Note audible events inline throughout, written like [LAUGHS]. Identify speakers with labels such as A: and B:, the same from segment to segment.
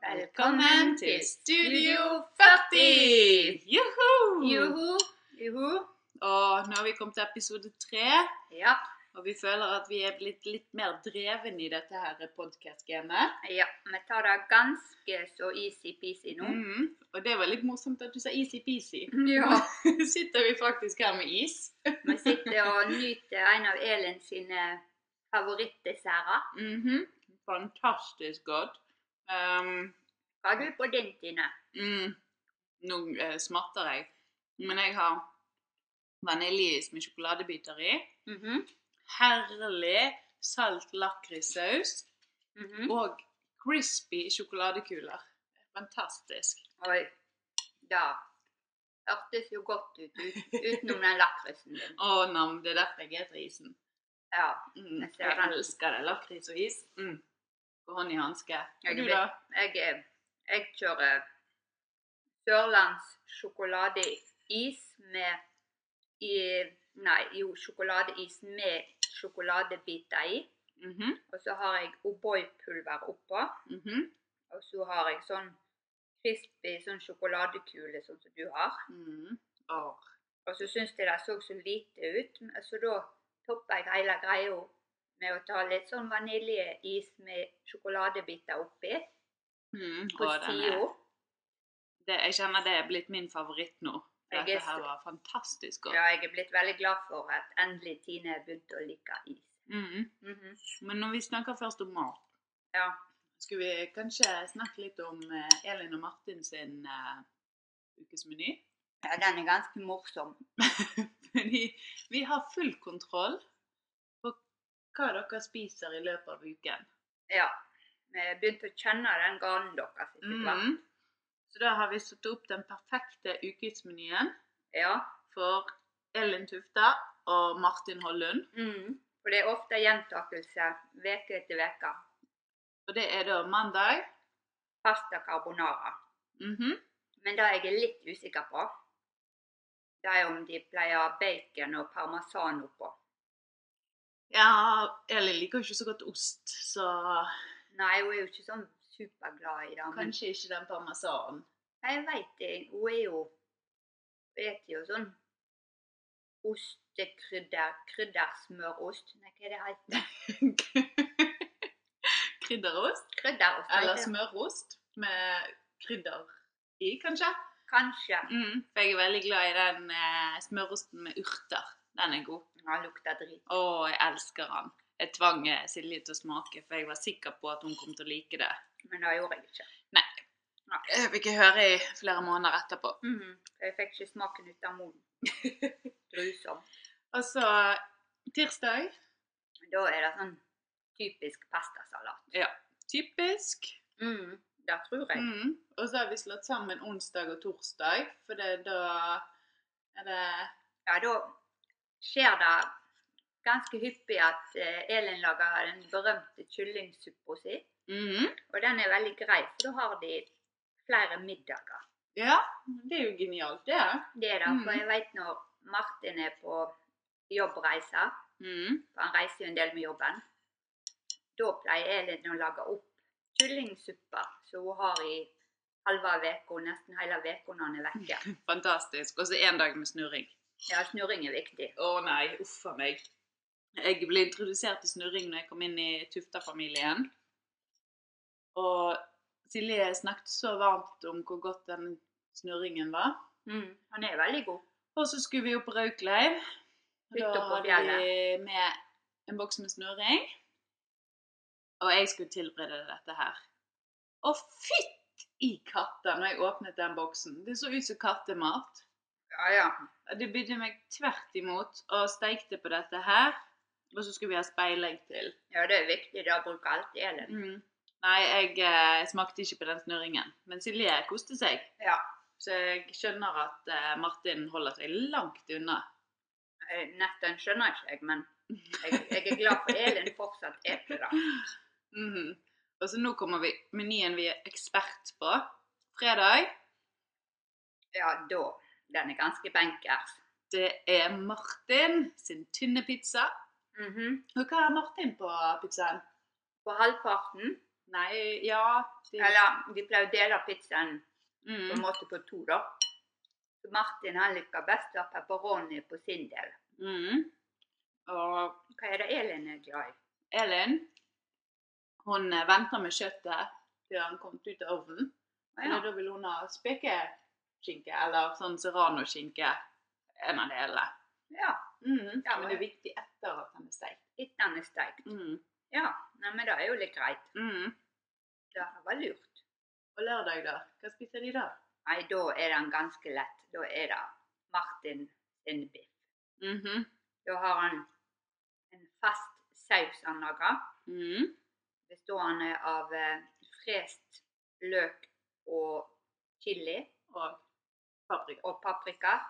A: Velkommen til Studio 40! Joho!
B: Joho. Joho.
A: Og nå har vi kommet til episode tre,
B: Ja.
A: og vi føler at vi er blitt litt mer dreven i dette her podcast-gamet.
B: ja. Vi tar det ganske så easy-peasy nå.
A: Mhm. Og det var litt morsomt at du sa easy-peasy.
B: [LAUGHS]
A: [LAUGHS]
B: Ja. [LAUGHS]
A: Sitter vi faktisk her med is.
B: Vi sitter og nyter en av Elin sine favorittdesserter.
A: Mhm. Fantastisk godt. Um,
B: Hva har du på din, Tine?
A: mm, nå eh, smatter jeg, men jeg har vaniljeis med sjokoladebiter i.
B: Mhm,
A: herlig salt lakrissaus
B: mhm.
A: og crispy sjokoladekuler. Fantastisk.
B: Oi. Da. Hørtes jo godt ut ut- utenom den lakrisen din.
A: Å, nam, det er derfor jeg heter isen.
B: Ja.
A: Mm,
B: Jeg ser
A: jeg
B: den.
A: elsker det. Lakris og is. Mm. Og hånd i hanske.
B: Jeg
A: Og du,
B: vet.
A: da?
B: Jeg, er- jeg kjører sørlandssjokoladeis med i, Nei, jo, sjokoladeis med sjokoladebiter i.
A: Mhm,
B: Og så har jeg O'boy-pulver oppå.
A: mhm,
B: Og så har jeg sånn crispy sånn sjokoladekule, sånn som du har.
A: mhm. Å,
B: Og så syns jeg det så så lite ut, men- så da topper jeg hele greia med å ta litt sånn vaniljeis med sjokoladebiter oppi
A: mm,
B: på
A: å, den er-
B: sida.
A: det- Jeg kjenner det er blitt min favoritt nå.
B: Jeg
A: Dette
B: er
A: her
B: så-
A: var fantastisk godt.
B: Ja, jeg er blitt veldig glad for at endelig Tine begynte å like is.
A: Mhm.
B: Mhm.
A: Men når vi snakker først om mat,
B: Ja.
A: skulle vi kanskje snakke litt om eh, Elin og Martin sin eh, ukesmeny? [LAUGHS]
B: ja, den er ganske morsom.
A: Fordi vi har full kontroll på hva dere spiser i løpet av uken.
B: Ja. Vi begynte å kjenne den ganen deres etter hvert.
A: Mhm. Så da har vi satt opp den perfekte ukesmenyen
B: Ja.
A: for Elin Tufta og Martin Hollund.
B: Mhm. For det er ofte gjentakelse uke etter uke.
A: Og det er da mandag.
B: Pasta carbonara.
A: Mhm.
B: Men det jeg er litt usikker på, det er om de pleier bacon og parmesan oppå.
A: Ja, Elin liker jo ikke så godt ost, så
B: Nei, hun er jo ikke sånn superglad i det. Men
A: kanskje ikke den parmesanen.
B: Nei, jeg veit det. Hun er jo Hun spiser jo sånn ostekrydder Kryddersmørost. Nei, hva er det heter?
A: [LAUGHS] Krydderost?
B: Krydderost.
A: Eller
B: heter det.
A: smørost med krydder i, kanskje?
B: Kanskje.
A: Mm, for jeg er veldig glad i den eh, smørosten med urter. Den er god.
B: Han lukter drit.
A: Å, jeg elsker den. Jeg tvang eh, Silje til å smake, for jeg var sikker på at hun kom til å like det.
B: Men det gjorde jeg ikke.
A: Jeg fikk jeg høre i flere måneder etterpå.
B: Mhm. For Jeg fikk ikke smaken ut av munnen. [LAUGHS] Grusom.
A: Og så tirsdag.
B: Da er det sånn typisk pastasalat.
A: Typisk.
B: Mm. Det tror jeg.
A: Mm. Og så har vi slått sammen onsdag og torsdag, for det, da er det
B: Ja, da skjer det ganske hyppig at eh, Elin lager den berømte kyllingsuppa si.
A: Mhm.
B: Og den er veldig grei, for da har de flere middager.
A: Ja, det er jo genialt, det.
B: Det er det, for
A: Mm.
B: jeg vet når Martin er på jobbreise,
A: Mm.
B: for han reiser jo en del med jobben, da pleier Elin å lage opp kyllingsuppa som hun har i halve uka, nesten hele uka når han er vekke.
A: Fantastisk. Og så én dag med snurring.
B: Ja, snurring er viktig.
A: Å nei, uff a meg. Jeg ble introdusert til snurring når jeg kom inn i Tufta-familien. Og Silje snakket så varmt om hvor godt den snurringen var.
B: Mm. Han er veldig god.
A: Og så skulle vi opp på Raukleiv. Og
B: Hytta
A: Da
B: på
A: hadde vi med en boks med snurring. Og jeg skulle tilberede dette her. Og fytt i katta når jeg åpnet den boksen. Det så ut som kattemat.
B: Ja, ja.
A: Det bydde meg tvert imot og steikte på dette her. Og så skulle vi ha speilegg til. Mm.
B: Ja, det er viktig. Det bruker alltid Elin.
A: Nei, jeg eh, smakte ikke på den snurringen. Men Silje koste seg.
B: Ja.
A: Så jeg skjønner at eh, Martin holder seg langt unna.
B: Eh, Nesten skjønner ikke jeg, men jeg, jeg er glad for Elin fortsatt eter det.
A: Mhm. Og så nå kommer vi menyen vi er ekspert på. Fredag,
B: Ja, da. Den er ganske benkers.
A: det er Martin sin tynne pizza.
B: Mhm.
A: Og hva har Martin på pizzaen?
B: På halvparten
A: Nei, ja det,
B: Eller vi pleier å dele pizzaen på en
A: mm,
B: måte på to, da. Så Martin han liker best å ha pepperoni på sin del.
A: mm. Og
B: Hva er det Elin er glad i?
A: Elin hun eh, venter med kjøttet til han kom ut av ovnen.
B: Å,
A: Eller
B: Ja.
A: da vil hun ha spekeskinke eller sånn serranoskinke. En av delene.
B: ja.
A: Mm.
B: Ja,
A: men
B: men-
A: det er viktig etter at den er steikt.
B: Etter han er steikt.
A: Mm.
B: Ja, nei, men det er jo litt greit.
A: Mm.
B: Det var lurt.
A: Og lørdag, da? Hva spiser de da?
B: Nei, da er den ganske lett. Da er det Martin sin biff.
A: Mhm.
B: Da har han en fast saus han lager.
A: Mm.
B: bestående av eh, frest løk og chili
A: Og paprika.
B: og paprika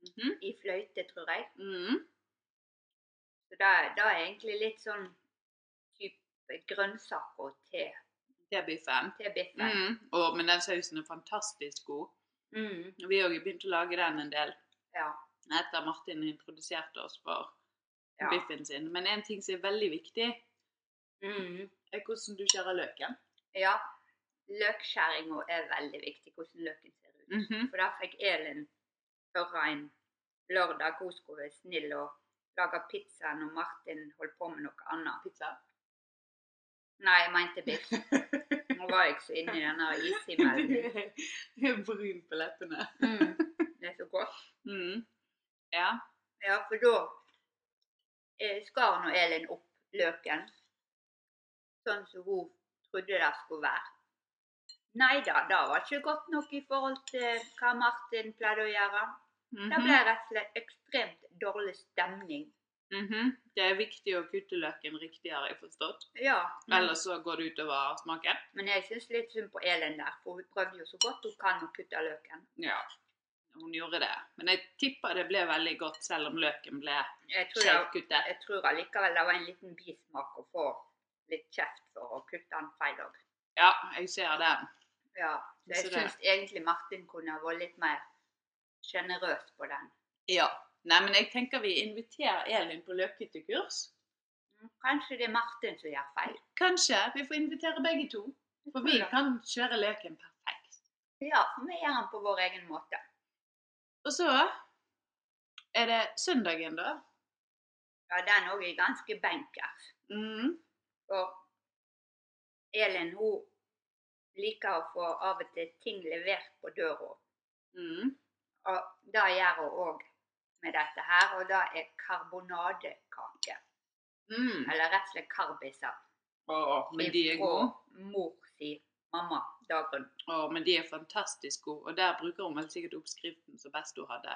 A: Mhm.
B: i fløyte, tror jeg.
A: Mm.
B: Så det, det er egentlig litt sånn type grønnsaker til,
A: Det er biffen.
B: til biffen.
A: Mm. Og, men den sausen er fantastisk god.
B: Mm,
A: Vi har jo begynt å lage den en del
B: ja,
A: etter Martin introduserte oss for
B: ja.
A: biffen sin. Men en ting som er veldig viktig,
B: Mm,
A: er hvordan du skjærer løken.
B: ja. Løkskjæringa er veldig viktig, hvordan løken ser ut.
A: Mhm.
B: For der fikk Elin høre en lørdag hun skulle være snill og lage pizza når Martin holdt på med noe annet.
A: Pizza. [LAUGHS]
B: Nei, jeg mente biff. Nå var jeg så inni den der
A: [LAUGHS]
B: ishimmelen. min.
A: Du er brun på leppene.
B: Mm. Det er så godt.
A: Mm. Ja.
B: Ja, for da eh, skar nå Elin opp løken sånn som hun trodde det skulle være. Nei da, det var ikke godt nok i forhold til hva Martin pleide å gjøre. Det ble
A: Mhm.
B: rett og slett ekstremt dårlig stemning.
A: Mhm. Det er viktig å kutte løken riktig, har jeg forstått.
B: Ja, men,
A: Ellers så går det utover smaken.
B: men jeg syns litt synd på Elin der, for hun prøvde jo så godt hun kan å kutte løken.
A: Ja, hun gjorde det. Men jeg tipper det ble veldig godt, selv om løken ble
B: Jeg tror det
A: skjevkuttet.
B: jeg tror allikevel det var en liten bismak å få litt kjeft for å kutte den feil òg.
A: Ja, jeg ser den.
B: Ja, så jeg
A: Så det-
B: syns egentlig Martin kunne ha vært litt mer sjenerøs på den.
A: Ja. Nei, men jeg tenker vi inviterer Elin på løkhyttekurs.
B: Mm, Kanskje det er Martin som gjør feil.
A: Kanskje vi får invitere begge to. For vi kan kjøre løken perfekt.
B: Ja, for vi gjør den på vår egen måte.
A: Og så er det søndagen, da.
B: Ja, den òg er ganske benkers.
A: Mm.
B: For Elin hun liker å få av og til ting levert på døra.
A: Mm.
B: Og det gjør hun òg med dette her, og det er karbonadekake.
A: Mm.
B: Eller rett og slett karbiser.
A: Å, men de er
B: ifra
A: gode.
B: mor si mamma Dagrun.
A: Å, men de er fantastisk gode. Og der bruker hun vel sikkert oppskriften som best hun hadde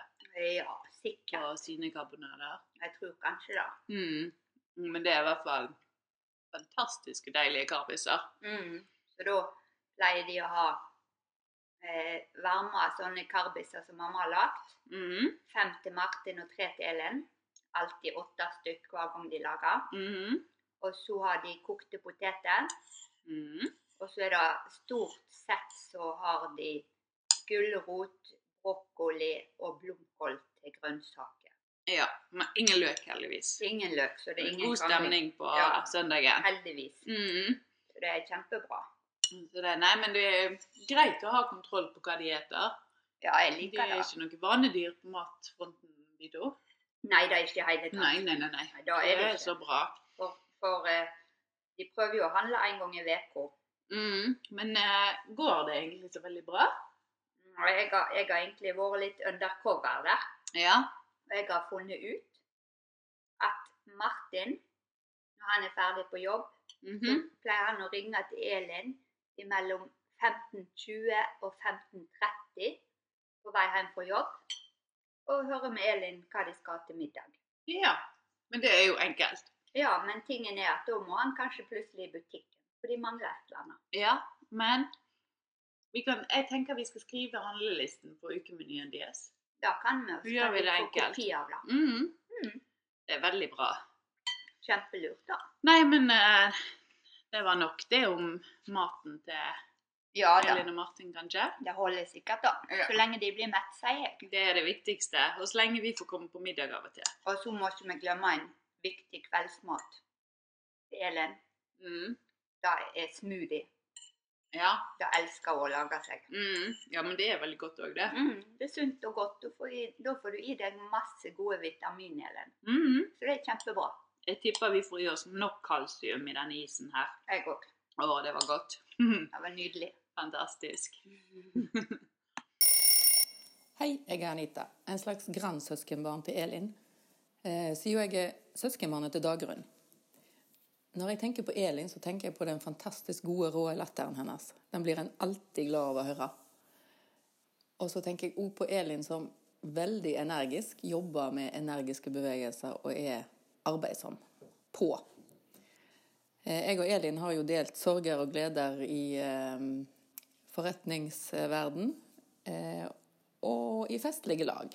B: Ja, sikkert.
A: på sine karbonader.
B: Jeg tror kanskje det.
A: Mm. Men det er i hvert fall fantastiske deilige karbiser.
B: Mm. Så da pleier de å ha eh, varma sånne karbiser som mamma har lagd.
A: Mhm.
B: Fem til Martin og tre til Elin. Alltid åtte stykk hver gang de lager.
A: Mhm.
B: Og så har de kokte poteter.
A: Mhm.
B: Og så er det stort sett så har de gulrot, brokkoli og blomkål til grønnsaker.
A: Ja. Men ingen løk, heldigvis.
B: Ingen løk, så det er ingen
A: God
B: krangling.
A: stemning på
B: Ja.
A: søndagen.
B: Heldigvis.
A: Mhm.
B: Så det er kjempebra.
A: Så det, nei, men det er greit å ha kontroll på hva de eter.
B: Ja, jeg
A: De
B: liker
A: er
B: det.
A: ikke noe vanedyr på matfronten, de to.
B: Nei, det er ikke i hele tatt.
A: Nei, nei, nei. nei.
B: Nei, da er det ikke.
A: så bra.
B: For, for eh, de prøver jo å handle en gang i uka.
A: Mhm. Men eh, går det egentlig så veldig bra?
B: Og jeg har, jeg har egentlig vært litt undercover der.
A: Ja.
B: Og jeg har funnet ut at Martin, når han er ferdig på jobb,
A: Mhm.
B: så pleier han å ringe til Elin mellom 15.20 og 15.30 på vei hjem fra jobb. Og høre med Elin hva de skal ha til middag.
A: Ja. Men det er jo enkelt.
B: Ja, men tingen er at da må han kanskje plutselig i butikken, for de mangler et eller annet.
A: Ja, men vi kan, jeg tenker vi skal skrive handlelisten på ukemenyen deres.
B: Da kan vi
A: Så gjør vi det enkelt.
B: kopi av det.
A: Mhm.
B: Mm.
A: Det er veldig bra.
B: Kjempelurt, da.
A: Nei, men eh, det var nok det om maten til
B: Ja da.
A: Elin og Martin, kanskje.
B: Det holder sikkert, da.
A: Ja.
B: Så lenge de blir mett, sier jeg.
A: Det er det viktigste. Og så lenge vi får komme på middag av og til.
B: Og så må ikke vi glemme en viktig kveldsmat. Elen.
A: Mm.
B: det er smoothie.
A: Ja.
B: Det elsker hun å lage seg.
A: Mm. ja, men det er veldig godt òg, det.
B: Mm, det er sunt og godt. Du får i, da får du i deg masse gode vitaminer, Ellen.
A: Mm.
B: Så det er kjempebra.
A: Jeg tipper vi får i oss nok kalsium i denne isen her.
B: Jeg òg.
A: Å, det var godt. [LAUGHS]
B: Det var nydelig.
A: Fantastisk.
C: Hei, jeg er Anita, en slags grandsøskenbarn til Elin, eh, så jo jeg er søskenbarnet til Dagrun. Når jeg tenker på Elin, så tenker jeg på den fantastisk gode, rå latteren hennes. Den blir en alltid glad av å høre. Og så tenker jeg òg på Elin som veldig energisk, jobber med energiske bevegelser og er arbeidsom. På. Eh, Jeg og Elin har jo delt sorger og gleder i eh, forretningsverden eh, og i festlige lag.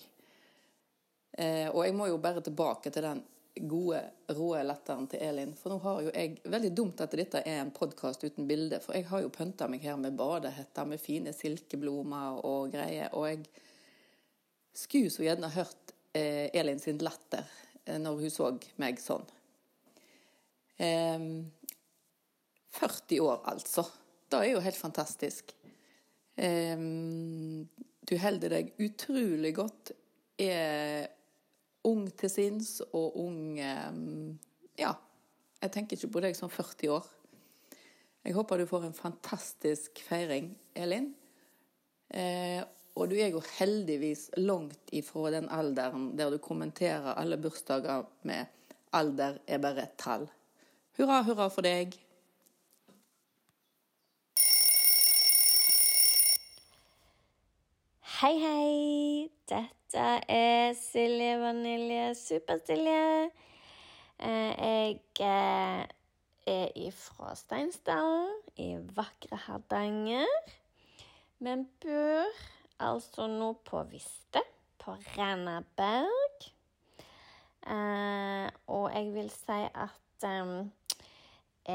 C: Eh, og jeg må jo bare tilbake til den gode, rå latteren til Elin. For nå har jo jeg Veldig dumt at dette er en podkast uten bilde, for jeg har jo pynta meg her med badehetter med fine silkeblomster og greier. Og jeg skulle så gjerne hørt eh, Elin sin latter eh, når hun så meg sånn. Ehm, 40 år, altså. Det er jo helt fantastisk. Ehm, du holder deg utrolig godt. Er ung til sinns og ung ehm, Ja, jeg tenker ikke på deg som 40 år. Jeg håper du får en fantastisk feiring, Elin. Eh, og du er jo heldigvis langt ifra den alderen der du kommenterer alle bursdager med 'alder er bare et tall'. Hurra, hurra for deg.
D: Hei, hei! Dette er Silje Vanilje Supersilje. Jeg eh, er ifra Steinsdalen i vakre Hardanger. Men bor altså nå på Viste, på Rennaberg. Eh, Og jeg vil si at eh,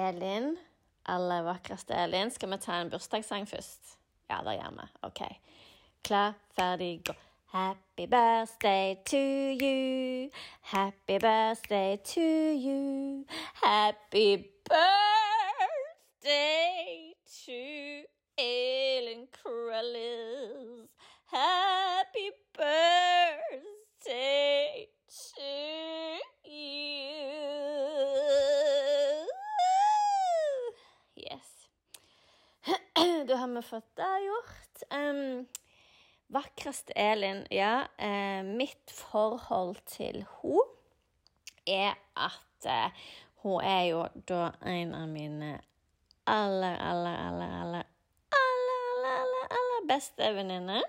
D: Elin, aller vakreste Elin, skal vi ta en bursdagssang først? Ja, det gjør vi. OK. Klar, ferdig, gå. Happy birthday to you. Happy birthday to you. Happy birthday to Elin Krellis. Happy birthday to you. Yes. [CLEARS THROAT] da har vi fått det gjort. Um, Vakreste Elin, ja. Eh, mitt forhold til hun er at eh, hun er jo da en av mine aller, aller, aller, aller, aller, aller, aller, aller beste venninner.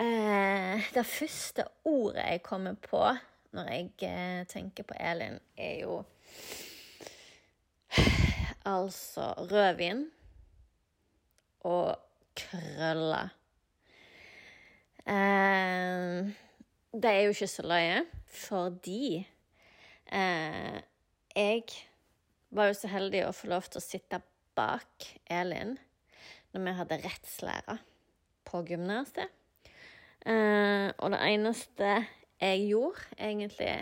D: Eh, det første ordet jeg kommer på når jeg eh, tenker på Elin, er jo [SIGHS] altså rødvin og krøller. Eh, det er jo ikke så løye, fordi eh, jeg var jo så heldig å få lov til å sitte bak Elin når vi hadde rettslære på gymnaset. Eh, og det eneste jeg gjorde, egentlig,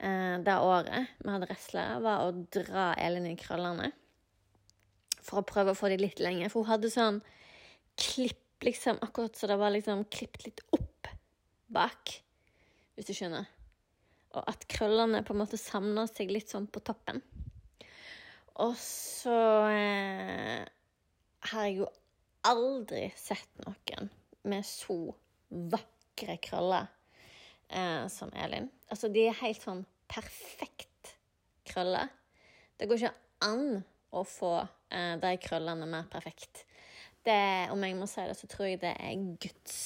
D: eh, det året vi hadde rettslære, var å dra Elin i krøllene for å prøve å få de litt lenger. For hun hadde sånn klipp, liksom, akkurat så det var liksom klippet litt opp bak, hvis du skjønner. Og at krøllene på en måte samla seg litt sånn på toppen. Og så eh, har jeg jo aldri sett noen med så vakre krøller eh, som Elin. Altså, de er helt sånn perfekt krøller. Det går ikke an å få eh, de krøllene mer perfekt. Det, om jeg må si det, så tror jeg det er Guds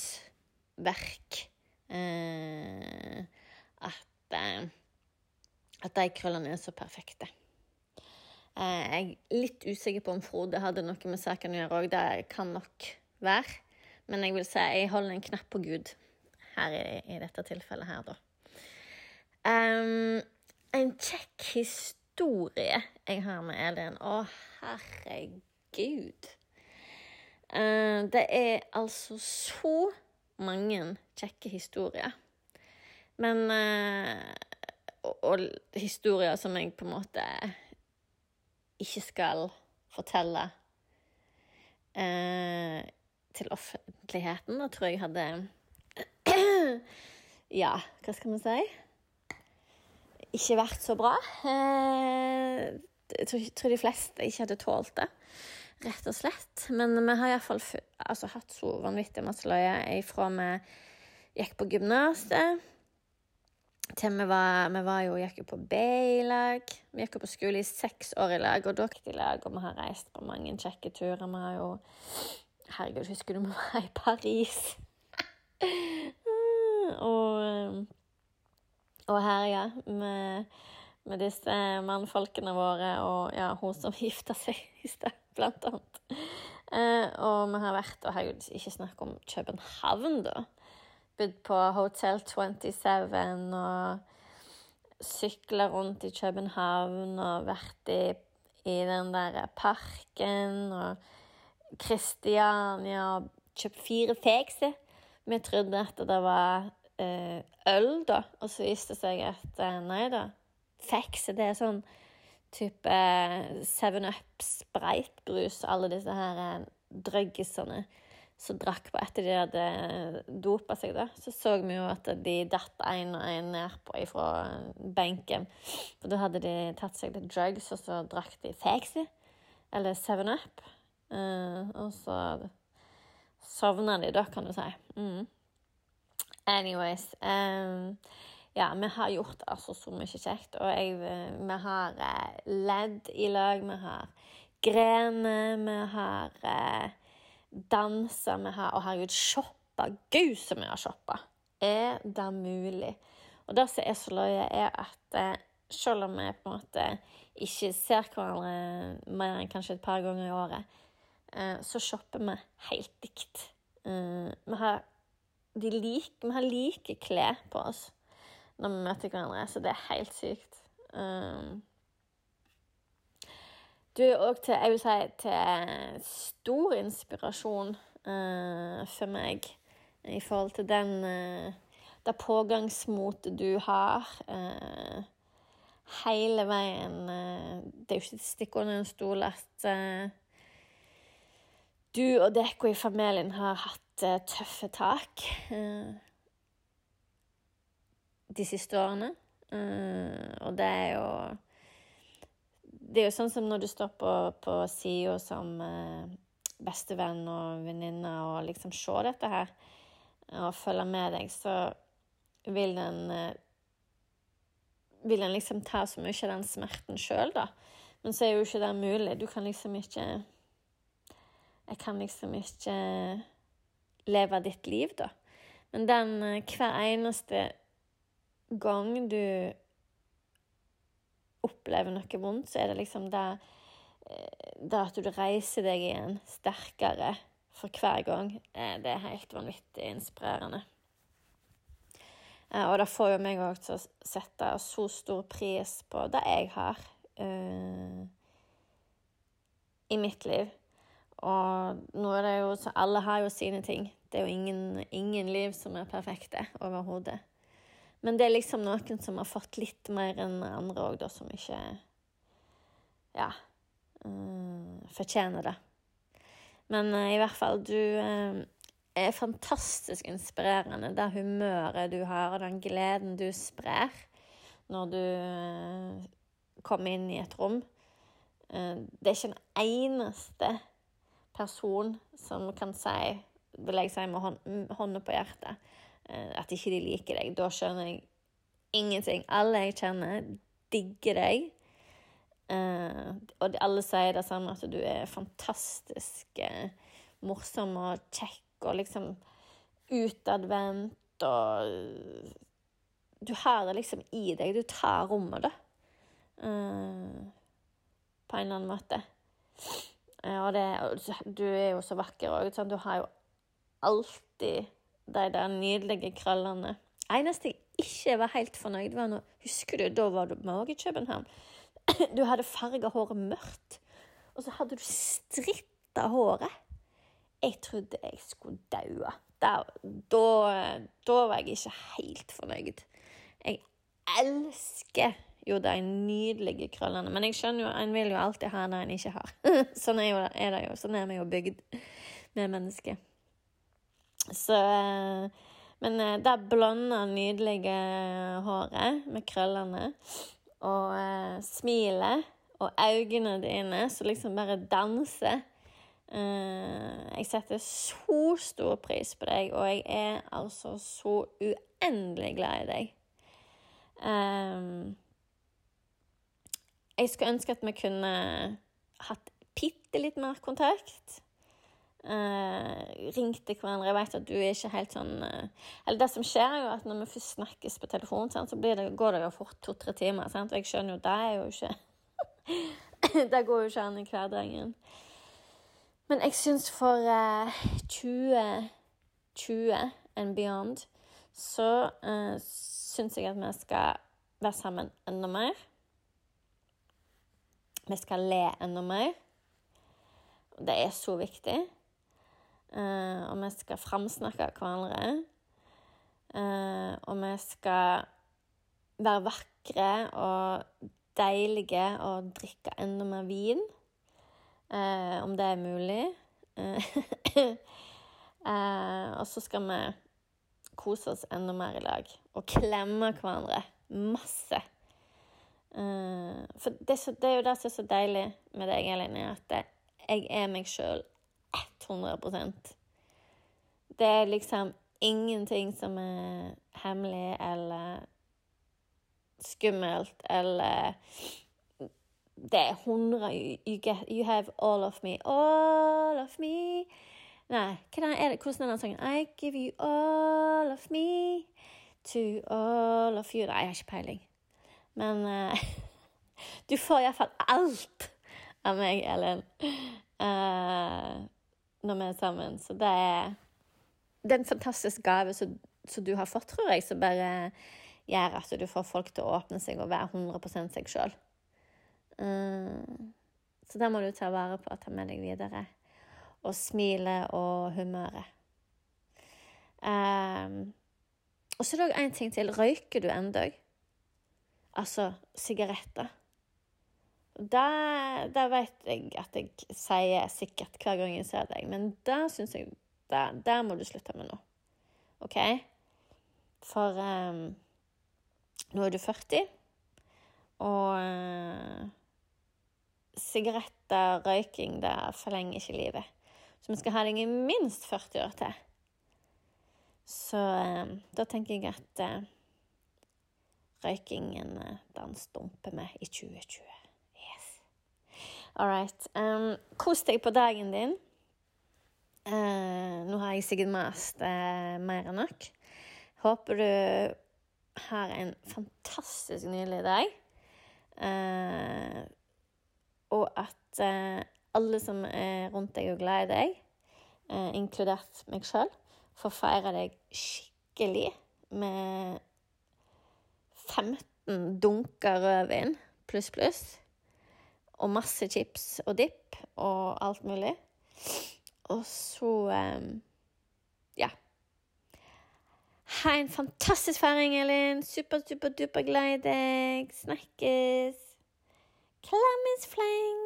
D: verk. Eh, at, eh, at de krøllene er så perfekte. Eh, jeg er litt usikker på om Frode hadde noe med saken å gjøre òg. Det kan nok være. Men jeg vil si jeg holder en knapp på Gud her i, i dette tilfellet her, da. Ehm, en kjekk historie jeg har med Elin. Å, herregud. Eh, det er altså så mange kjekke historier. Men eh, og, og historier som jeg på en måte ikke skal fortelle eh, til offentligheten. Da tror jeg hadde [CLEARS THROAT] Ja, hva skal man si? Ikke vært så bra. Eh, jeg tror, jeg tror de fleste ikke hadde tålt det, rett og slett. Men vi har iallfall altså, hatt så vanvittig masse løye ifra vi gikk på gymnaset til vi var, vi var jo, gikk jo på B-lag. Vi gikk jo på skole i seks år i lag, og da gikk i lag, og vi har reist på mange kjekke turer. Vi har jo Herregud, husker du vi var i Paris? [LAUGHS] og, eh, og her, ja. Med, med disse mannfolkene våre, og ja, hun som [LAUGHS] gifta seg i sted, blant annet. Eh, og vi har vært Og herregud, ikke snakk om København, da bodd på Hotel 27 og sykla rundt i København og vært i, i den der parken og Kristiania og kjøpt fire Pepsi. Vi trodde at det var eh, øl, da, og så viste det seg at eh, nei da, Faxi, det er sånn type eh, Seven Up, Sprite, brus og alle disse her eh, drøggisene som drakk på etter de hadde dopa seg, da, så så vi jo at de datt én og én nedpå fra eh, benken. For da hadde de tatt seg til drugs, og så drakk de Faxi eller Seven Up. Uh, og så sovna de, da, kan du si. Mm. Anyways um, Ja, vi har gjort altså så mye kjekt, og jeg, eh, vi har uh, ledd i lag, vi har grener, vi har uh, danse vi har, og herregud, shoppa. Gud, som vi har shoppa! Er det mulig? Og det som er så løye, er at eh, selv om vi på en måte ikke ser hverandre mer enn kanskje et par ganger i året, eh, så shopper vi helt dikt. Eh, vi, har, like, vi har like klær på oss når vi møter hverandre, så det er helt sykt. Um, du er òg til, jeg vil si, til stor inspirasjon eh, for meg i forhold til den eh, det pågangsmotet du har eh, hele veien. Eh, det er jo ikke til å stikke under en stol at eh, du og dere i familien har hatt eh, tøffe tak eh, de siste årene, Eh, og det er jo det er jo sånn som når du står på, på sida som eh, bestevenn og venninne og liksom se dette her og følge med deg, så vil den eh, Vil den liksom ta så mye av den smerten sjøl, da. Men så er jo ikke det mulig. Du kan liksom ikke Jeg kan liksom ikke leve ditt liv, da. Men den eh, hver eneste gang du opplever noe vondt, så er det liksom det, det at du reiser deg igjen sterkere for hver gang. Eh, Det er helt vanvittig inspirerende. Eh, Og det får jo meg òg til å sette så stor pris på det jeg har uh, i mitt liv. Og nå er det jo så Alle har jo sine ting. Det er jo ingen, ingen liv som er perfekte overhodet. Men det er liksom noen som har fått litt mer enn andre òg, da, som ikke Ja øh, fortjener det. Men øh, i hvert fall, du øh, er fantastisk inspirerende. Det humøret du har, og den gleden du sprer når du eh, kommer inn i et rom. Eh, det er ikke en eneste person som kan si, vil jeg si med hånd, hånda på hjertet, eh, at ikke de liker deg. Da skjønner jeg ingenting. Alle jeg kjenner, digger deg. Uh, og alle sier det samme, at du er fantastisk uh, morsom og kjekk og liksom utadvendt og uh, Du har det liksom i deg. Du tar rommet, da. på en eller annen måte. Eh, og det, du er jo så vakker òg. Sånn, du har jo alltid de der nydelige krøllene. Eneste jeg ikke var helt fornøyd med nå, Husker du, da var du med òg i København. [CLEARS THROAT] Du hadde farga håret mørkt, og så hadde du stritta håret. Jeg trodde jeg skulle daue. Da, da, da, var jeg ikke helt fornøyd. Jeg elsker jo de nydelige krøllene. Men jeg skjønner jo, en vil jo alltid ha det en ikke har. [LAUGHS] sånn er, jo, er det jo. Sånn er vi jo bygd med mennesker. Så eh, Men eh, det blonde, nydelige håret med krøllene og eh, smilet og øynene dine som liksom bare danser Eh, jeg setter så stor pris på deg, og jeg er altså så uendelig glad i deg. Ehm, jeg skulle ønske at vi kunne hatt bitte litt mer kontakt. Eh, ringt til hverandre. Jeg vet at du er ikke helt sånn eh, Eller det som skjer, er jo at når vi først snakkes på telefon, sant, så blir det, går det jo fort to-tre timer. Sant? Og jeg skjønner jo det er jo ikke Det går jo ikke [LAUGHS] an i hverdagen. Men jeg syns for eh, 2020 and beyond så uh, syns jeg at vi skal være sammen enda mer. Vi skal le enda mer. Og Det er så viktig. Eh, og vi skal framsnakke hverandre. Eh, og vi skal være vakre og deilige og drikke enda mer vin. Eh, om det er mulig. Eh, [LAUGHS] eh, og så skal vi kose oss enda mer i lag. Og klemme hverandre masse. Eh, for det, er så, det er jo det som er så deilig med deg, Elin, er at det, jeg er meg sjøl 100 Det er liksom ingenting som er hemmelig eller skummelt eller det er 100 you, you, get, you have all of me. All of me. Nei, hvordan er det? Hvordan er den sangen? I give you all of me to all of you. Nei, jeg har ikke peiling. Men eh, [LAUGHS] du får iallfall alt av meg, Ellen, eh, når vi er sammen. Så det er, det er en fantastisk gave som som du har fått, tror jeg, som bare gjør at du får folk til å åpne seg og være 100 seg sjøl. Eh, Så det må du ta vare på og ta med deg videre. Og smilet og humøret. Ehm, og så er det òg én ting til. Røyker du ennå? Altså sigaretter. Det, det vet jeg at jeg sier sikkert hver gang jeg ser deg, men det syns jeg det, det må du slutte med nå. OK? For ehm, nå er du 40. Og eh, sigaretter, røyking, det forlenger ikke livet. Så vi skal ha deg i minst 40 år til. Så eh, da tenker jeg at eh, røykingen, eh, den stumper vi i 2020. Yes. All right. Um, kos deg på dagen din. Eh, nå har jeg sikkert mast eh, mer enn nok. Håper du har en fantastisk nydelig dag. Eh, og at eh, alle som er rundt deg og glad i deg, eh, inkludert meg sjøl, får feire deg skikkelig med 15 dunker rødvin pluss, pluss. Og masse chips og dipp og alt mulig. Og så eh, Ja. Ha en fantastisk feiring, Elin. Super, super, duper glad i deg. Snakkes. Klammis fleng.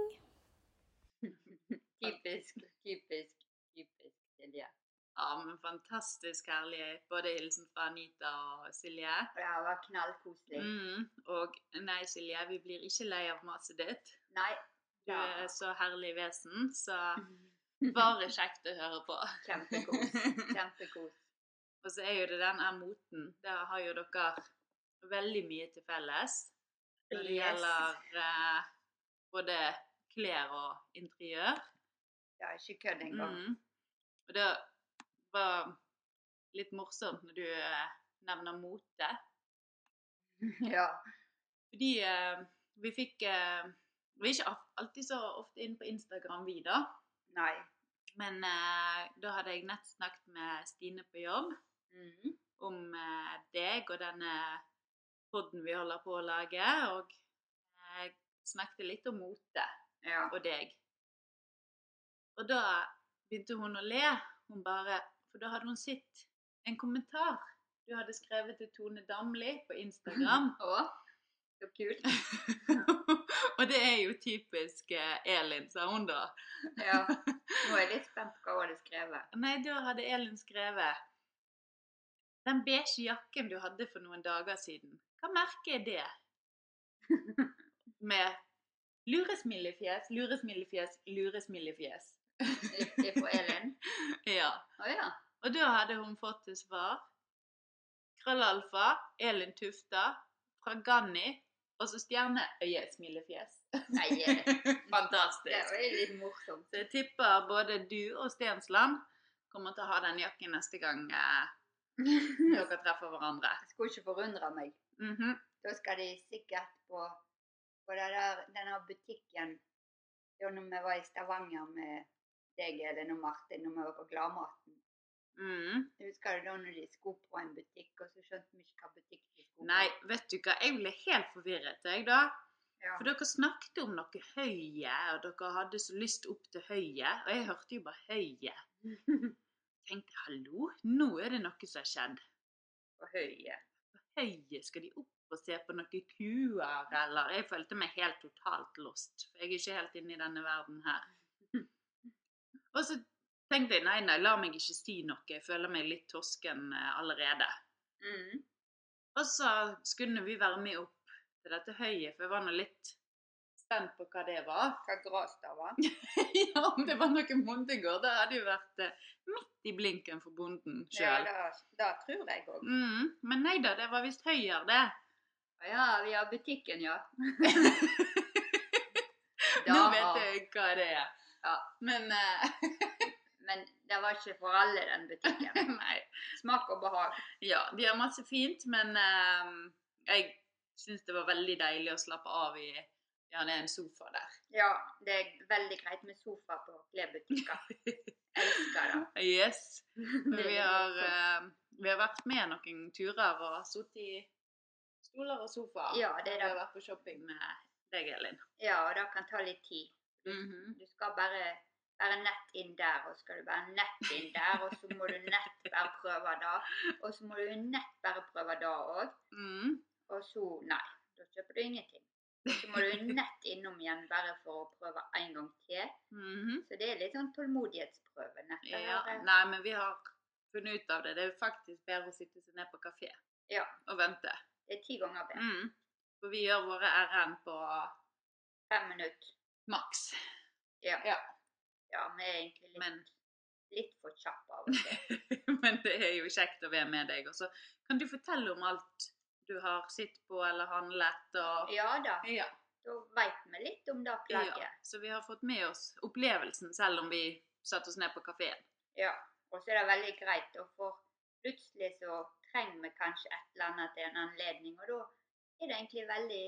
B: Typisk, typisk, typisk Silje.
A: Ja, men fantastisk herlig. Både hilsen fra Anita og Silje.
B: Og det var knallkoselig.
A: Mm, og nei, Silje, vi blir ikke lei av maset ditt.
B: Nei,
A: Du
B: Ja.
A: er så herlig vesen, så bare kjekt å høre på.
B: [LAUGHS] kjempekos. Kjempekos.
A: Og så er jo det den her moten. Der har jo dere veldig mye til felles. Når det
B: Yes.
A: gjelder eh, både klær og interiør.
B: Ja, ikke kødd engang.
A: Mm. Og det var litt morsomt når du eh, nevner mote.
B: [LAUGHS] Ja.
A: Fordi eh, vi fikk eh, Vi er ikke al- alltid så ofte inne på Instagram, vi, da.
B: Nei.
A: Men eh, da hadde jeg nett snakket med Stine på jobb
B: Mm.
A: om eh, deg og denne podden vi holder på å lage, og eh, snakket litt om mote.
B: Ja.
A: og deg. Og da begynte hun å le. Hun bare For da hadde hun sett en kommentar du hadde skrevet til Tone Damli på Instagram.
B: Og Så kult.
A: [LAUGHS] og det er jo typisk eh, Elin, sa hun da.
B: Ja. Nå er jeg litt spent på hva hun hadde skrevet.
A: Nei, da hadde Elin skrevet Den beige jakken du hadde for noen dager siden, hva merke er det? Med luresmilefjes, luresmilefjes, luresmilefjes.
B: Riktig på Elin.
A: Ja.
B: Å ja.
A: Og da hadde hun fått til svar Krøllalfa, Elin Tufta, fra Ganni, og så stjerneøye, smilefjes.
B: Nei, eh, det
A: Fantastisk.
B: var jo litt morsomt.
A: Så jeg tipper både du og Stensland kommer til å ha den jakken neste gang eh, dere treffer hverandre.
B: Jeg skulle ikke forundre meg.
A: Mhm.
B: Da skal de sikkert på, på det der, denne butikken da når vi var i Stavanger med deg, Elin og Martin, når vi var på Gladmaten.
A: Mm.
B: Husker du da når de skulle på en butikk, og så skjønte vi ikke hva butikk de skulle på?
A: Nei, vet du hva, jeg ble helt forvirret, jeg da.
B: Ja.
A: For dere snakket om noe høye, og dere hadde så lyst opp til høye, og jeg hørte jo bare høye.
B: Mm. [LAUGHS]
A: Tenkte, hallo, nå er det noe som har skjedd.
B: På høye.
A: Høye, skal de opp og se på noen kuer, eller? Jeg følte meg helt totalt lost, for jeg er ikke helt inne i denne verden
B: [LAUGHS]
A: her. Og så tenkte jeg, nei, nei, la meg ikke si noe, jeg føler meg litt tosken eh, allerede.
B: Mm.
A: Og så skulle vi være med opp til dette høyet, for jeg var nå litt spent på hva det var.
B: Hva gras det var.
A: [LAUGHS] ja, om det var noen bondegård, det hadde jo vært eh, midt i blinken for bonden
B: Ja,
A: sjøl.
B: da, da tror jeg òg.
A: Mm, men nei da, det var visst høyere,
B: [LAUGHS]
A: det. [LAUGHS]
B: Ja, vi har butikken, ja. Da
A: Nå
B: har-
A: vet jeg hva det er.
B: Ja.
A: Men eh, [LAUGHS]
B: Men det var ikke for alle, den [LAUGHS] butikken.
A: Nei.
B: Smak og behag.
A: Ja, de har masse fint, men eh, jeg syns det var veldig deilig å slappe av i ja, det er en sofa
B: [LAUGHS]
A: der.
B: Ja, det er veldig greit med sofa på klesbutikker. Elsker [LAUGHS] det.
A: Yes.
B: Det er
A: Vi har,
B: morsomt.
A: eh, vi har vært med noen turer og sittet i stoler og sofa.
B: Ja, det
A: Og Vi
B: er
A: har
B: det.
A: vært på shopping med deg, Elin.
B: Ja, og det kan ta litt tid. Du skal bare være nett inn der, og skal du være nett inn der, og så må du nett bare prøve da, og så må du nett bare prøve da òg,
A: Mm.
B: og så Nei, da kjøper du ingenting. Og Så må du nett innom igjen bare for å prøve en gang til.
A: Mhm.
B: Så det er litt sånn tålmodighetsprøve. nett det
A: ja.
B: der.
A: Nei, men vi har funnet ut av det. Det er faktisk bedre å sitte seg ned på kafé
B: Ja.
A: og vente.
B: Det er ti ganger bedre.
A: Mm. For vi gjør våre ærend på
B: Fem minutter.
A: maks.
B: Ja.
A: Ja.
B: Ja, vi er egentlig litt,
A: Men,
B: litt for kjappe av og til.
A: [LAUGHS] men det er jo kjekt å være med deg. Og så kan du fortelle om alt du har sett på eller handlet. Og...
B: Ja da,
A: ja.
B: da veit vi litt om det
A: Ja,
B: plagget.
A: så vi har fått med oss opplevelsen selv om vi satt oss ned på kafeen.
B: Ja. Og så er det veldig greit, og for plutselig så trenger vi kanskje et eller annet til en anledning, og da er det egentlig veldig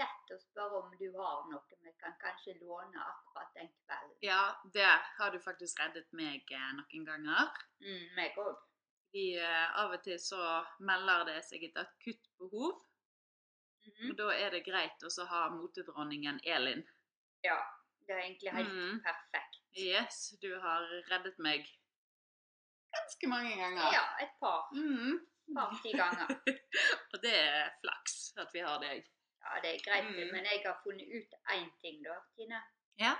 B: lett å spørre om du har noe vi kan kanskje låne akkurat den kvelden.
A: Ja, der har du faktisk reddet meg eh, noen ganger.
B: Mm, meg òg.
A: Fordi eh, av og til så melder det seg et akutt behov, og da er det greit også å ha motedronningen Elin.
B: Ja. Det er egentlig helt
A: Mm.
B: perfekt.
A: Yes, du har reddet meg ganske mange
B: Ja.
A: ganger.
B: et par.
A: Mm.
B: Par-ti ganger.
A: Og det er flaks at vi har [LAUGHS] deg.
B: Ja, det er greit,
A: Mm.
B: men jeg har funnet ut én ting, da, Tine.
A: Ja.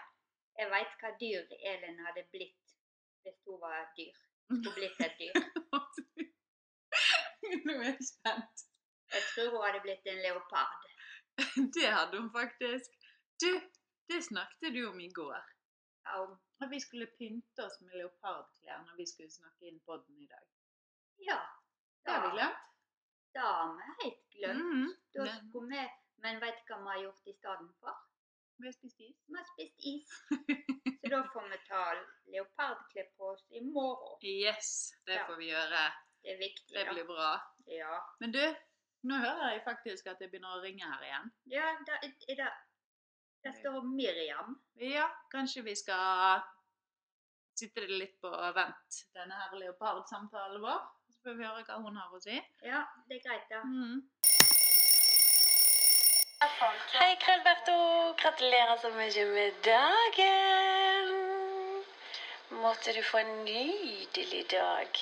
B: Jeg veit hva dyr Elin hadde blitt hvis hun var et dyr. Skulle blitt et
A: [LAUGHS]
B: dyr.
A: Nå er jeg spent.
B: Jeg tror hun hadde blitt en leopard.
A: Det hadde hun faktisk. Du, det snakket du om i går.
B: Ja, hun-
A: At vi skulle pynte oss med leopardklær når vi skulle snakke inn podden i dag.
B: ja.
A: Det har vi glemt.
B: Det har vi helt glemt.
A: Mhm.
B: Da
A: Men
B: skulle vi Men veit du hva vi har gjort i stedet for?
A: vi har spist is.
B: Vi har spist
A: [LAUGHS]
B: is. Så da får vi ta leopardklær på oss i morgen.
A: Yes, det
B: Ja.
A: får vi gjøre.
B: Det er viktig,
A: Det
B: da.
A: blir bra.
B: Ja.
A: Men du, nå hører jeg faktisk at det begynner å ringe her igjen.
B: ja der, er det, der står Miriam.
A: Ja, kanskje vi skal sitte det litt på vent, denne her leopardsamtalen vår. Så får vi høre hva hun har å si.
B: Ja, det er greit, da.
A: Mhm.
E: Hei, Krøllberto! Gratulerer så mye med dagen! Måtte du få en nydelig dag.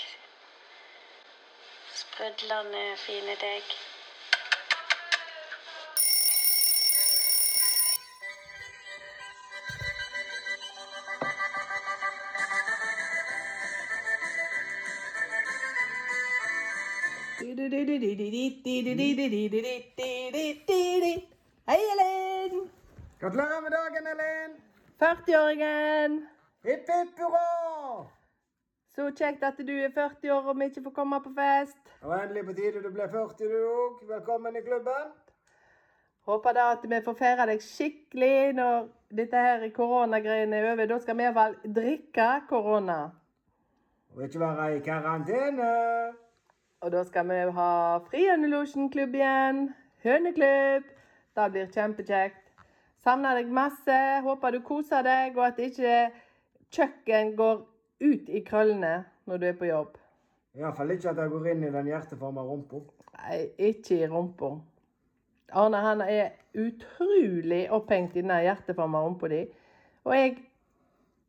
E: Sprudlende fine deg.
F: Hei, Elin!
G: Gratulerer med dagen, Elin!
F: 40-åringen!
G: Hipp, hipp hurra!
F: Så kjekt at du er 40 år og vi ikke får komme på fest.
G: Det var endelig på tide du ble 40, du òg. Velkommen i klubben.
F: Håper da at vi får feire deg skikkelig når dette her koronagreiene er over. Da skal vi i hvert fall drikke korona.
G: Og ikke være i karantene.
F: Og da skal vi ha Frihønelosjen-klubb igjen. Høneklubb. Det blir kjempekjekt. Savner deg masse. Håper du koser deg, og at ikke kjøkken går ut i krøllene når du er på jobb.
G: Iallfall ikke at jeg går inn i den hjerteforma rumpa.
F: Nei, ikke i rumpa. Arne han er utrolig opphengt i den hjerteforma rumpa di. Og jeg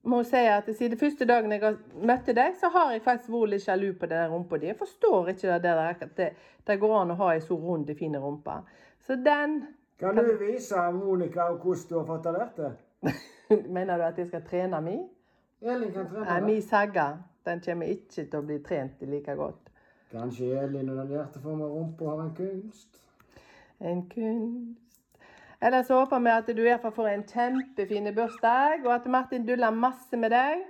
F: må si at siden første dagen jeg har møtte deg, så har jeg faktisk vært litt sjalu på den der rumpa di. Jeg forstår ikke det der at det, det går an å ha ei så rund, fin rumpe. Så den [LAUGHS]
G: Kan du vise Monica hvordan du har fått det der til?
F: Mener du at jeg skal trene mi?
G: Elin kan
F: Nei,
G: trene
F: mi
G: deg.
F: sagga. Den kommer ikke til å bli trent like godt.
G: Kanskje Elin og den hjerteforma rumpa har en kunst?
F: En kunst. Ellers så håper vi at du i hvert fall får en kjempefin bursdag, og at Martin duller masse med deg.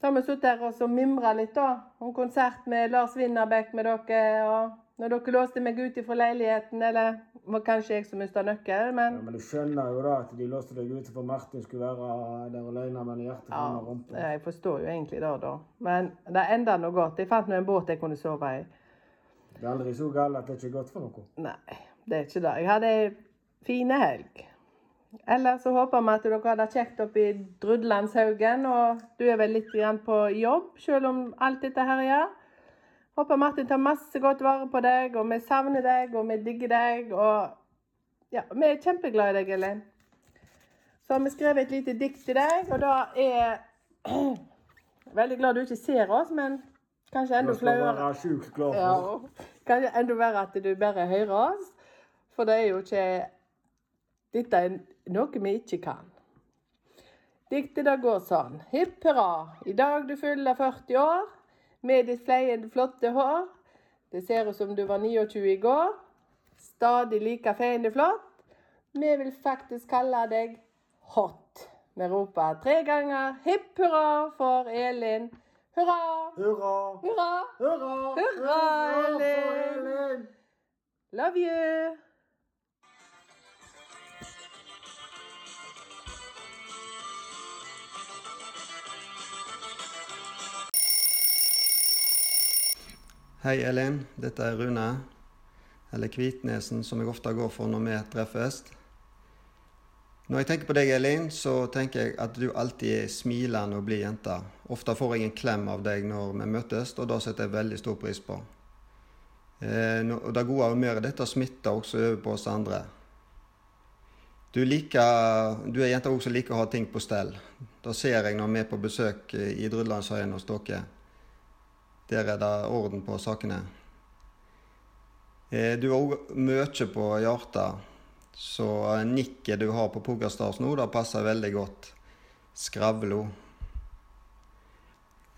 F: Så har vi sittet her og så mimret litt, da. Om konsert med Lars Winnerbeck med dere. og Når dere låste meg ut fra leiligheten, eller var kanskje jeg som mista nøkkelen,
G: Ja,
F: men
G: men du skjønner jo da at de låste deg ute for Martin skulle være der alene med den hjerteforma rumpa.
F: ja, Jeg forstår jo egentlig det, da. Men det enda nå godt. Jeg fant nå en båt jeg kunne sove i.
G: Det er aldri så galt at det ikke er godt for noe.
F: Nei, det er ikke det. Jeg hadde ei fine helg. Ellers så håper vi at dere har det kjekt oppe i Drudlandshaugen, og du er vel litt grann på jobb, selv om alt dette her er. Håper Martin tar masse godt vare på deg, og vi savner deg, og vi digger deg, og ja, vi er kjempeglade i deg, Elin. Så har vi skrevet et lite dikt til deg, og da er [CLEARS THROAT] Veldig glad du ikke ser oss, men kanskje
G: Du
F: enda
G: skal
F: flauere.
G: være sjukt glad
F: Ja,
G: for.
F: og kan det enda være at du bare hører oss, for det er jo ikke Dette er noe vi ikke kan. Diktet det går sånn. Hipp hurra, i dag du fyller 40 år. Med ditt fleiende flotte hår. Det ser ut som du var 29 i går. Stadig like feiende flott. Vi vil faktisk kalle deg Hot. Vi roper tre ganger hipp hurra for Elin. Hurra,
G: Hurra!
F: hurra.
G: Hurra!
F: Hurra,
G: for
F: Elin!
G: Elin!
F: Love you!
H: Hei, Elin. Dette er Rune. Eller Kvitnesen, som jeg ofte går for når vi treffes. Når jeg tenker på deg, Elin, så tenker jeg at du alltid er smilende og blid jente. Ofte får jeg en klem av deg når vi møtes, og det setter jeg veldig stor pris på. Eh, nå- og Det gode humøret ditt smitter også over på oss andre. Du, liker, du er jenta også som liker å ha ting på stell. Det ser jeg når vi er på besøk eh, i Drudlandshøyen hos dere. Der er det orden på sakene. Eh, Du har òg mye på hjertet, så eh, nikket du har på Pokerstars nå, det passer veldig godt. Skravlo.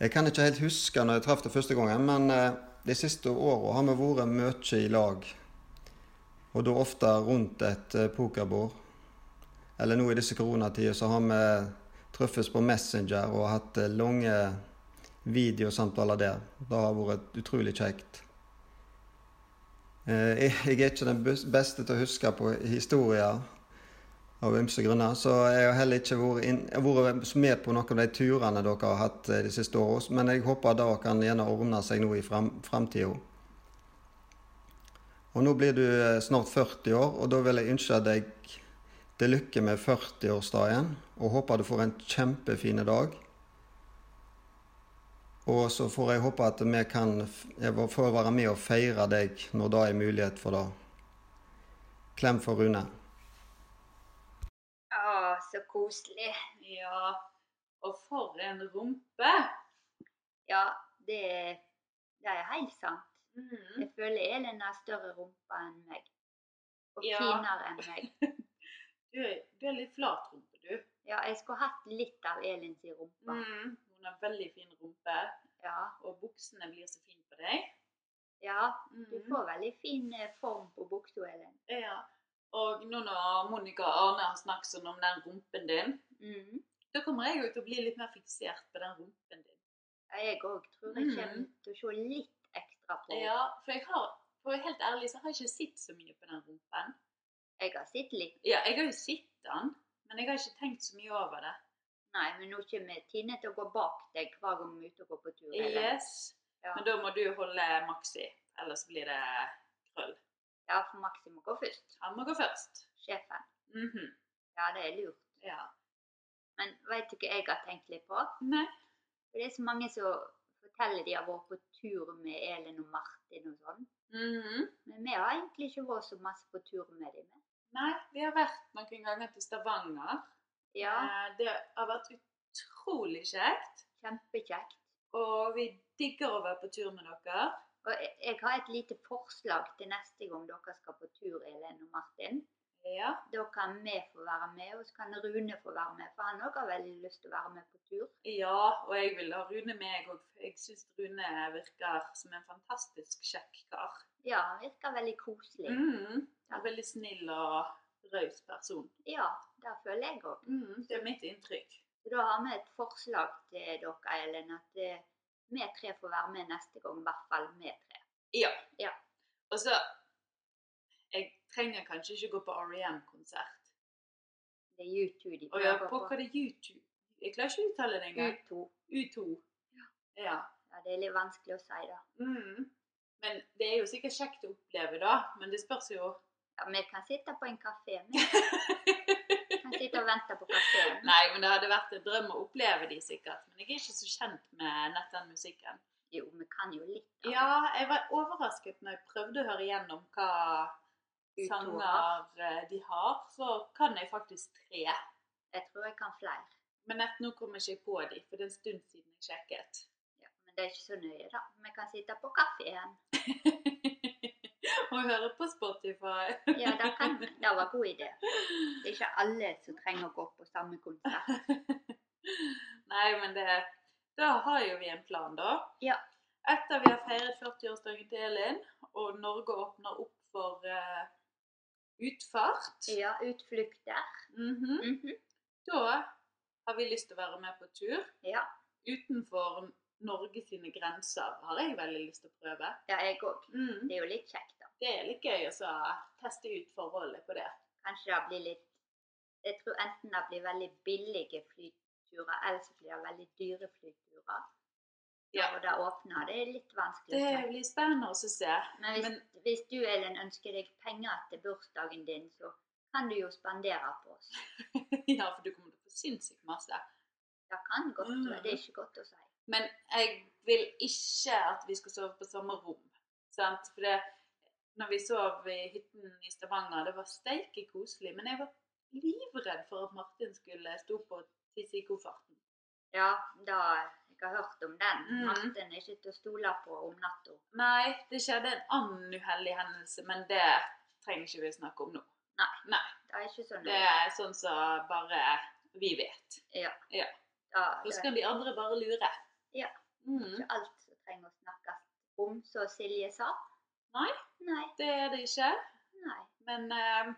H: Jeg kan ikke helt huske når jeg traff deg første gangen, men eh, de siste åra har vi vært mye i lag. Og da ofte rundt et eh, pokerbord. Eller nå i disse koronatider så har vi truffes på Messenger og hatt eh, lange videosamtaler der. Det har vært utrolig kjekt. Eh, Jeg jeg er ikke den bus- beste til å huske på historier av ymse grunner, så jeg har heller ikke vært, inn, jeg har vært med på noen av de turene dere har hatt eh, de siste årene, men jeg håper det kan gjerne ordne seg nå i framtida. Og nå blir du eh, snart 40 år, og da vil jeg ønske deg til lykke med 40-årsdagen, og håper du får en kjempefin dag. Og så får jeg håpe at vi kan f- jeg får være med og feire deg når det er mulighet for det. Klem for Rune.
B: Å, så koselig.
A: Ja, og for en rumpe!
B: Ja, det, er- det er helt sant.
A: Mm.
B: Jeg føler Elin har større rumpe enn meg. Og
A: Ja.
B: finere enn meg.
A: Du, er- du er litt flat rumpe, du.
B: Ja, jeg skulle hatt litt av Elin sin rumpe.
A: Mm. Hun har veldig fin rumpe,
B: Mm. Ja,
A: og buksene blir så fine på deg.
B: Ja, du
A: Mm.
B: får veldig fin eh, form på buksa, Elin.
A: Ja. Og nå når Monica og Arne har snakket sånn om den rumpen din,
B: Mm.
A: da kommer jeg jo til å bli litt mer fiksert på den rumpen din.
B: Ja, Jeg òg tror jeg
A: Mm.
B: kommer til å se litt ekstra på henne.
A: Ja, for jeg har, for å være helt ærlig, så har jeg ikke sett så mye på den rumpen.
B: Jeg har sett litt,
A: Ja, jeg har jo sett den, men jeg har ikke tenkt så mye over det.
B: nei, men nå kommer Tine til å gå bak deg hver gang vi er ute og går på tur. Elin.
A: Yes.
B: Ja.
A: Men da må du holde Maxi, ellers blir det krøll.
B: Ja, for Maxi må gå først.
A: Han må gå først.
B: Sjefen.
A: Mhm.
B: Ja, det er lurt.
A: Ja.
B: Men vet du hva jeg har tenkt litt på?
A: Nei.
B: For det er så mange som forteller de har vært på tur med Elin og Martin og sånn.
A: Mhm.
B: Men vi har egentlig ikke vært så masse på tur med dem.
A: Nei, vi har vært noen ganger til Stavanger.
B: Ja,
A: Eh, Det har vært utrolig kjekt.
B: kjempekjekt.
A: Og vi digger å være på tur med dere.
B: Og jeg, jeg har et lite forslag til neste gang dere skal på tur, Elin og Martin.
A: Ja.
B: Da kan vi få være med, og så kan Rune få være med. For han òg har veldig lyst til å være med på tur.
A: ja, og jeg vil ha Rune med, jeg òg. Jeg syns Rune virker som en fantastisk kjekk kar.
B: Ja, han virker veldig koselig.
A: Mm. En veldig snill og raus person.
B: Ja, det føler jeg òg.
A: Mm. Det er mitt inntrykk.
B: Så Da har vi et forslag til dere, Elin, at eh, vi tre får være med neste gang. I hvert fall vi tre.
A: Ja.
B: Ja.
A: Og så Jeg trenger kanskje ikke gå på REM-konsert.
B: Det er YouTube de
A: Og jeg
B: prøver
A: på hva det er YouTube Jeg klarer ikke å uttale det engang.
B: U2.
A: U2. Ja.
B: Ja, det er litt vanskelig å si, da.
A: Mm. Men det er jo sikkert kjekt å oppleve, da. Men det spørs jo
B: Ja, vi kan sitte på en kafé.
A: [LAUGHS]
B: Vi kan sitte og vente på kafeen.
A: Nei, men det hadde vært en drøm å oppleve de sikkert. Men jeg er ikke så kjent med nett den musikken.
B: Jo, vi kan jo litt. da.
A: Ja, jeg var overrasket når jeg prøvde å høre gjennom hva
B: U2 har.
A: sanger eh, de har. Så kan jeg faktisk tre.
B: Jeg tror jeg kan flere.
A: Men nett nå kommer jeg ikke på de, for det er en stund siden jeg sjekket. [LAUGHS]
B: Ja, men det er ikke så nøye, da. Vi kan sitte på kafeen.
A: Og høre på Spotify. [LAUGHS]
B: Ja, det kan vi. Det var en god idé. Det er ikke alle som trenger å gå på samme konsert.
A: Nei, men det Da har jo vi en plan, da.
B: Ja.
A: Etter vi har feiret 40-årsdagen til Elin, og Norge åpner opp for eh, utfart,
B: Ja, utflukter.
A: mhm,
B: Mhm.
A: da har vi lyst til å være med på tur.
B: Ja.
A: Utenfor Norge sine grenser har jeg veldig lyst til å prøve.
B: Ja, jeg òg.
A: Mm.
B: Det er jo litt kjekt, da.
A: Det er litt gøy å så teste ut forholdet på det.
B: Kanskje det blir litt Jeg tror enten det blir veldig billige flyturer, eller så blir det veldig dyre flyturer.
A: Ja.
B: Og det åpner. Det er litt vanskelig å
A: Det
B: si.
A: blir spennende å se. [LAUGHS]
B: Men hvis,
A: men-
B: hvis du, Elin, ønsker deg penger til bursdagen din, så kan du jo spandere på oss.
A: ja, for du kommer til å få sinnssykt masse.
B: Det kan godt være.
A: Mm.
B: Det er ikke godt å si.
A: Men jeg vil ikke at vi skal sove på samme rom. Sant? For det, når vi sov i hytten i Stavanger, det var steike koselig. Men jeg var livredd for at Martin skulle stå på og tisse i kofferten.
B: Ja, da jeg har hørt om den.
A: Mm.
B: Martin er ikke til å stole på om natta.
A: Nei, det skjedde en annen uheldig hendelse, men det trenger ikke vi snakke om nå.
B: Det er ikke sånn
A: Det er sånn som bare vi vet.
B: da,
A: Og så
B: det er
A: kan de andre bare lure.
B: Ja.
A: Mm.
B: ikke alt som trenger å snakkes om, som Silje sa.
A: Nei.
B: Nei.
A: Det er det ikke.
B: Nei.
A: Men eh,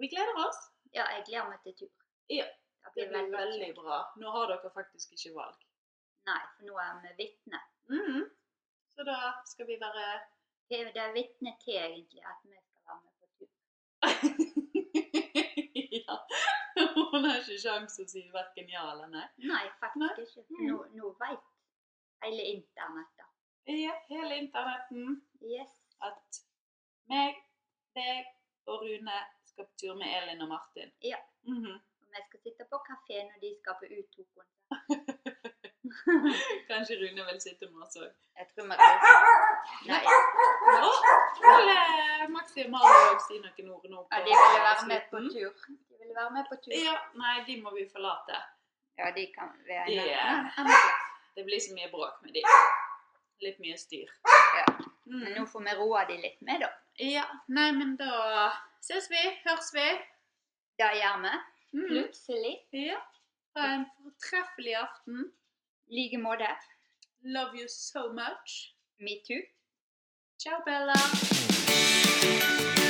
A: vi gleder oss.
B: Ja, jeg gleder meg til tur.
A: Ja,
B: Det
A: Det
B: blir
A: blir
B: veldig,
A: veldig
B: kjekt.
A: bra. Nå har dere faktisk ikke valg. Mm.
B: Nei, for nå er vi vitne.
A: Så da skal vi være
B: Det er- det er vitne til egentlig at vi skal være med på tur.
A: [LAUGHS] Ja. Hun har ikke sjanse å si verken ja eller nei.
B: Nei, faktisk
A: Nei.
B: ikke. Nå, nå veit hele internettet.
A: Ja, hele internetten
B: Yes.
A: at meg, deg og Rune skal på tur med Elin og Martin.
B: Ja.
A: Mhm. [LAUGHS]
B: Og vi skal sitte på kafé når de skal på U2-konsert.
A: Kanskje Rune vil sitte med oss òg.
B: Jeg tror vi reiser. Nei.
A: Skulle Maxi og Mario si noen ord nå?
B: Ja,
A: på
B: de ville være med på
A: slutten?
B: tur. De ville være med på tur.
A: Ja, nei, de må vi forlate.
B: Ja, de kan være
A: De,
B: med.
A: det blir så mye bråk med de. Litt mye styr.
B: Ja. Men
A: Mm.
B: nå får vi roa de litt med, da.
A: Ja, nei, men da ses vi, høres vi.
B: Det gjør vi.
A: Mm.
B: Plutselig.
A: Ja. Ha en fortreffelig aften.
B: I like måte.
A: Love you so much.
B: Metoo. Ciao, Bella!